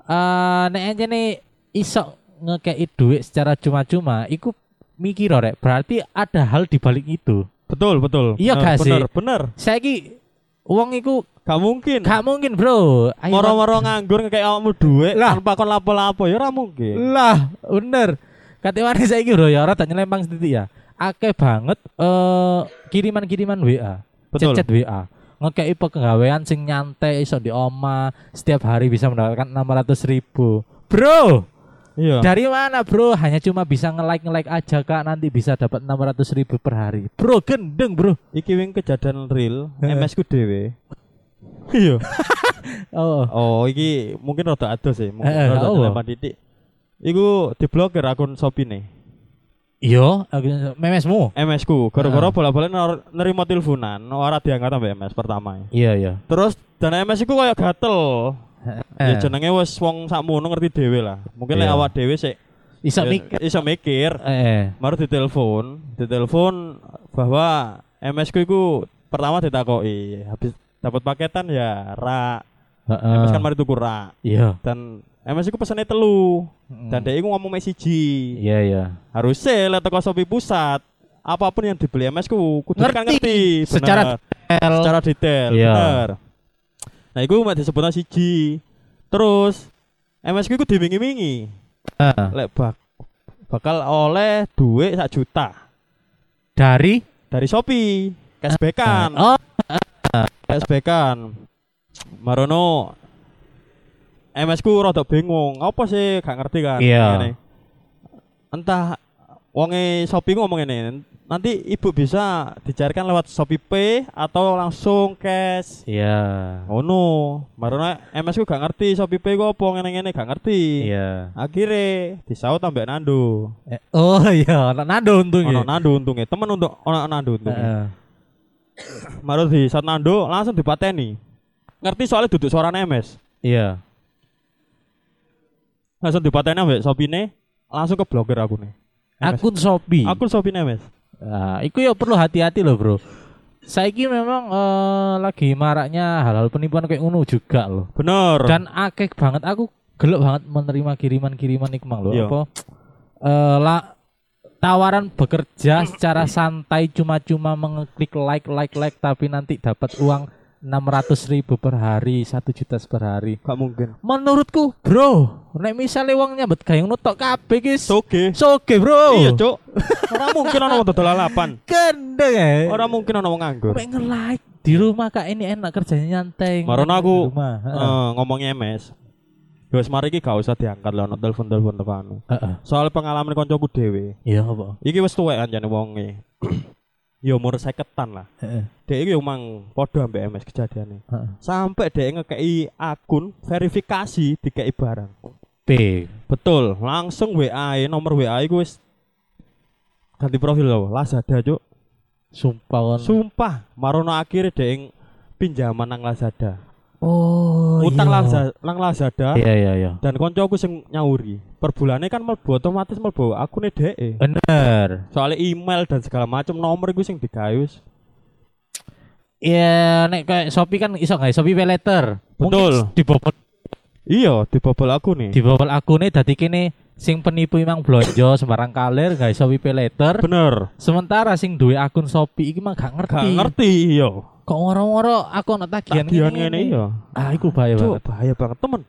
Speaker 1: Eh nek aja nih iso ngekei duit secara cuma-cuma iku mikir rek berarti ada hal di balik itu.
Speaker 2: Betul, betul.
Speaker 1: Iya
Speaker 2: Bener,
Speaker 1: gak sih?
Speaker 2: Bener, bener.
Speaker 1: saiki uang iku
Speaker 2: Gak mungkin.
Speaker 1: gak mungkin bro Ayo,
Speaker 2: Moro-moro nganggur kayak awakmu dhuwit
Speaker 1: Lah.
Speaker 2: tanpa kon lapo-lapo ya ora mungkin.
Speaker 1: lah bener kate mari saiki bro ya ora tak nyelempang sithik ya akeh banget eh kiriman-kiriman WA
Speaker 2: Betul.
Speaker 1: chat WA ngekei pegawaian sing nyantai iso di oma setiap hari bisa mendapatkan 600 ribu bro
Speaker 2: Iya.
Speaker 1: dari mana bro hanya cuma bisa nge-like nge-like aja kak nanti bisa dapat 600 ribu per hari bro gendeng bro
Speaker 2: Iki wing kejadian real
Speaker 1: Heeh.
Speaker 2: MS ku dhewe. Iya.
Speaker 1: oh
Speaker 2: Oh, iki mungkin rada adoh sih, mungkin
Speaker 1: Eh, eh,
Speaker 2: rada
Speaker 1: apa?
Speaker 2: dilempar titik. Iku diblokir akun Shopee nih.
Speaker 1: iya aku- memesmu
Speaker 2: MS ku gara-gara
Speaker 1: Heeh.
Speaker 2: bola-bola ner- nerima teleponan ora diangkat sampai MS pertama e.
Speaker 1: iya iya
Speaker 2: terus dan MS ku kayak gatel ya
Speaker 1: Eh,
Speaker 2: jenenge wis wong sakmono ngerti dhewe lah mungkin lek
Speaker 1: Iya.
Speaker 2: awak dhewe sik
Speaker 1: iso
Speaker 2: ya,
Speaker 1: mikir
Speaker 2: iso mikir
Speaker 1: eh
Speaker 2: baru ditelepon ditelepon bahwa MS ku iku pertama ditakoki habis dapat paketan ya rak
Speaker 1: Heeh.
Speaker 2: MS kan mari tuku rak
Speaker 1: Iya.
Speaker 2: dan MS ku pesane telu Hmm. dan
Speaker 1: Dan
Speaker 2: dia iku ngomong mek siji
Speaker 1: Iya iya.
Speaker 2: harusnya lihat toko Shopee pusat apapun yang dibeli MS ku kudu kan
Speaker 1: Ngerti.
Speaker 2: ngerti bener.
Speaker 1: Secara L.
Speaker 2: secara detail
Speaker 1: Iya.
Speaker 2: bener nah itu mek disebutnya siji terus MS ku iku dimingi-mingi
Speaker 1: Heeh.
Speaker 2: lek bak bakal oleh duit sak juta
Speaker 1: dari
Speaker 2: dari Shopee cashbackan
Speaker 1: Oh,
Speaker 2: cashbackan marono MS ku rada bingung apa sih gak ngerti kan
Speaker 1: Iya.
Speaker 2: ngene. entah wonge Shopee ku ngomong ini nanti ibu bisa dicairkan lewat Shopee Pay atau langsung cash
Speaker 1: iya.
Speaker 2: oh no marono MS ku gak ngerti Shopee Pay ku apa ngene-ngene gak ngerti
Speaker 1: Iya.
Speaker 2: akhirnya disaut ambek Nando
Speaker 1: Eh, Oh iya, anak nado untung ya.
Speaker 2: ono
Speaker 1: Eh.
Speaker 2: Nando untungnya temen untuk ono Nando untungnya
Speaker 1: Heeh.
Speaker 2: Maru di saat nando langsung dipateni. Ngerti soalnya duduk suara MS.
Speaker 1: Iya.
Speaker 2: Langsung dipateni ambek Shopee langsung ke blogger aku nih.
Speaker 1: Akun Shopee.
Speaker 2: Aku Shopee MS.
Speaker 1: Nah, iku ya perlu hati-hati loh, Bro. Saiki memang eh, lagi maraknya hal-hal penipuan kayak ngono juga loh.
Speaker 2: Bener.
Speaker 1: Dan akeh banget aku gelek banget menerima kiriman-kiriman iku mang lho.
Speaker 2: Iya.
Speaker 1: Apa eh, la- tawaran bekerja secara santai cuma-cuma mengeklik like like like tapi nanti dapat uang 600.000 ribu per hari, 1 juta per hari.
Speaker 2: Gak mungkin.
Speaker 1: Menurutku, bro, nek misalnya uangnya bet kayak nutok kabeh guys.
Speaker 2: Soge.
Speaker 1: Soge, bro.
Speaker 2: Iya, Cuk. Ora mungkin ono wong dodol lalapan.
Speaker 1: Gendeng ya.
Speaker 2: Ora mungkin ono wong nganggur.
Speaker 1: Mek nge-like di rumah kak ini enak kerjanya nyantai.
Speaker 2: Marono aku,
Speaker 1: Di rumah. Heeh.
Speaker 2: Eh, ngomongnya MS. Ya wis mari iki gak usah diangkat lah ono telepon-telepon tekan.
Speaker 1: Heeh.
Speaker 2: Soal pengalaman koncoku dhewe.
Speaker 1: Iya apa?
Speaker 2: Iki wis tuwek anjane wonge. ya umur 50-an lah.
Speaker 1: Heeh.
Speaker 2: Dek iki yo mang padha ambek MS kejadiannya.
Speaker 1: Heeh.
Speaker 2: sampai dia ngekei akun verifikasi dikei barang
Speaker 1: P.
Speaker 2: betul langsung WA -e, nomor WA gue wis ganti profil loh Lazada cuk
Speaker 1: Sumpah kon.
Speaker 2: sumpah marono akhirnya dia ng- pinjaman nang Lazada
Speaker 1: Oh,
Speaker 2: utang
Speaker 1: iya.
Speaker 2: Lazada nang Lazada
Speaker 1: Iya iya iya.
Speaker 2: dan koncoku sing nyauri per bulannya kan melbu otomatis melbu akune dhek -e.
Speaker 1: Bener.
Speaker 2: soalnya email dan segala macam nomor gue sing digawe wis
Speaker 1: Iya, nek kayak Shopee kan iso nggak? Shopee pay letter.
Speaker 2: Betul.
Speaker 1: Mungkin dibobol
Speaker 2: iya dibobol aku nih
Speaker 1: dibobol akune dadi kene sing penipu emang blonjo sembarang kalir nggak ya? Shopee pay letter.
Speaker 2: bener
Speaker 1: Sementara sing duwe akun Shopee iki mah gak ngerti.
Speaker 2: gak ngerti iya
Speaker 1: Kok ngoro-ngoro aku ana tagihan
Speaker 2: tagihan ngene iya
Speaker 1: Ah, iku bahaya
Speaker 2: Cuk,
Speaker 1: banget.
Speaker 2: bahaya banget temen.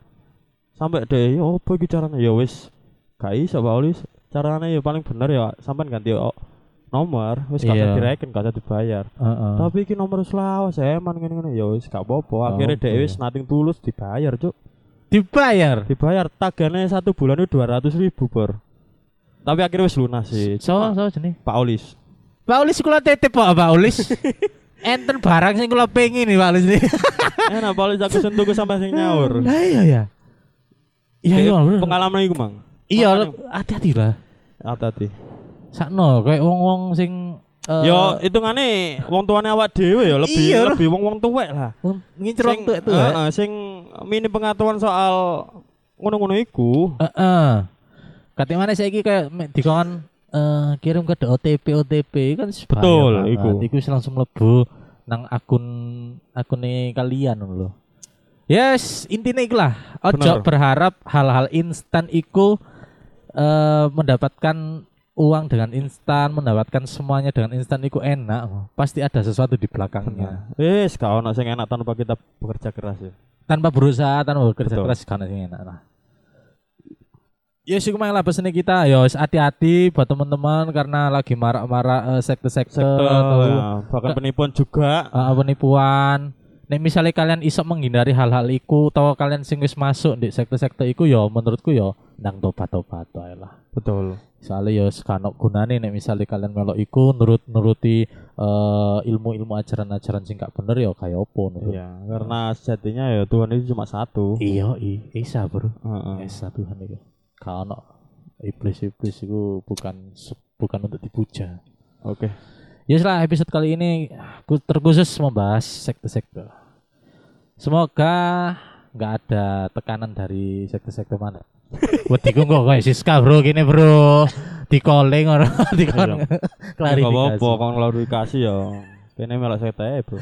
Speaker 2: Sampai deh, ya apa iki caranya ya wis gak iso Pak Oli caranya ya paling bener ya sampean ganti o- nomor wis gak usah
Speaker 1: Iya. Ah.
Speaker 2: direken gak usah dibayar
Speaker 1: Heeh.
Speaker 2: tapi iki nomor selawas eman ngene-ngene ya wis gak apa-apa akhirnya
Speaker 1: Oke.
Speaker 2: dhewe wis nating tulus dibayar cuk
Speaker 1: dibayar.
Speaker 2: dibayar tagannya satu bulan itu 200 ribu bor tapi akhirnya wis lunas sih
Speaker 1: So,
Speaker 2: Cuma,
Speaker 1: so jenis.
Speaker 2: Pak Olis
Speaker 1: Pak Ulis kula titip Pak Pak Ulis. Enten barang sing kula pengin nih Pak Ulis. nih.
Speaker 2: enak Pak Olis aku sentuh sampai sing nyaur
Speaker 1: Lah iya ya. Iya
Speaker 2: Kayak
Speaker 1: iya. bener.
Speaker 2: pengalaman iku mang
Speaker 1: Iya,
Speaker 2: makanya-
Speaker 1: hati-hati lah.
Speaker 2: hati-hati
Speaker 1: Sakno kayak wong-wong sing eh,
Speaker 2: yo hitungane wong tuane awak dhewe ya lebih
Speaker 1: Iya.
Speaker 2: lebih wong wong tuwek lah
Speaker 1: wong ngincer waktu itu. ya.
Speaker 2: heeh, sing mini pengetahuan soal ngono-ngono iku
Speaker 1: Heeh. Katanya mana saya kayak me- dikon eh kirim ke OTP OTP kan sebahaya
Speaker 2: Betul,
Speaker 1: banget.
Speaker 2: iku.
Speaker 1: Iku wis langsung mlebu nang akun akune kalian lho. Yes, intinya ikulah. Ojo
Speaker 2: Bener.
Speaker 1: berharap hal-hal instan iku eh mendapatkan uang dengan instan, mendapatkan semuanya dengan instan iku enak. Pasti ada sesuatu di belakangnya.
Speaker 2: wis gak ono sing enak tanpa kita bekerja keras ya
Speaker 1: Tanpa berusaha, tanpa bekerja
Speaker 2: Betul.
Speaker 1: keras kan yang enak lah. Ya sih kemarin lah pesennya kita, ya wis hati-hati buat teman-teman karena lagi marak-marak eh, sekte-sekte
Speaker 2: sektor
Speaker 1: atau
Speaker 2: ya, bahkan
Speaker 1: Ke-
Speaker 2: penipuan juga
Speaker 1: eh, penipuan. Nek misalnya kalian iso menghindari hal-hal iku atau kalian sing wis masuk di sekte-sekte iku ya menurutku ya nang tobat-tobat wae lah.
Speaker 2: betul
Speaker 1: Soalnya ya sekano gunane nek misalnya kalian melok iku nurut-nuruti eh, ilmu-ilmu ajaran-ajaran sing gak bener ya kaya opo menurut.
Speaker 2: Iya, karena sejatinya ya Tuhan itu cuma satu.
Speaker 1: Iya, iya, isa, Bro.
Speaker 2: Heeh.
Speaker 1: Esa Tuhan itu. Kalau no, iblis-iblis itu bukan se- bukan untuk dipuja.
Speaker 2: Oke.
Speaker 1: Ya setelah episode kali ini ku- terkhusus membahas sekte-sekte. Semoga nggak ada tekanan dari sekte-sekte mana. Wedi ku kok kayak Siska bro gini bro di calling orang di
Speaker 2: Iya. Nggak apa-apa,
Speaker 1: klarifikasi.
Speaker 2: kon klarifikasi ya. Kene melok sekte Bro.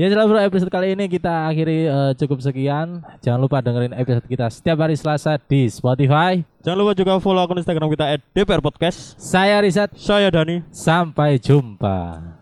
Speaker 1: ya setelah bro episode kali ini kita akhiri eh, cukup sekian. Jangan lupa dengerin episode kita setiap hari Selasa di Spotify.
Speaker 2: Jangan lupa juga follow akun Instagram kita @dprpodcast.
Speaker 1: Saya Rizat
Speaker 2: Saya Dani.
Speaker 1: Sampai jumpa.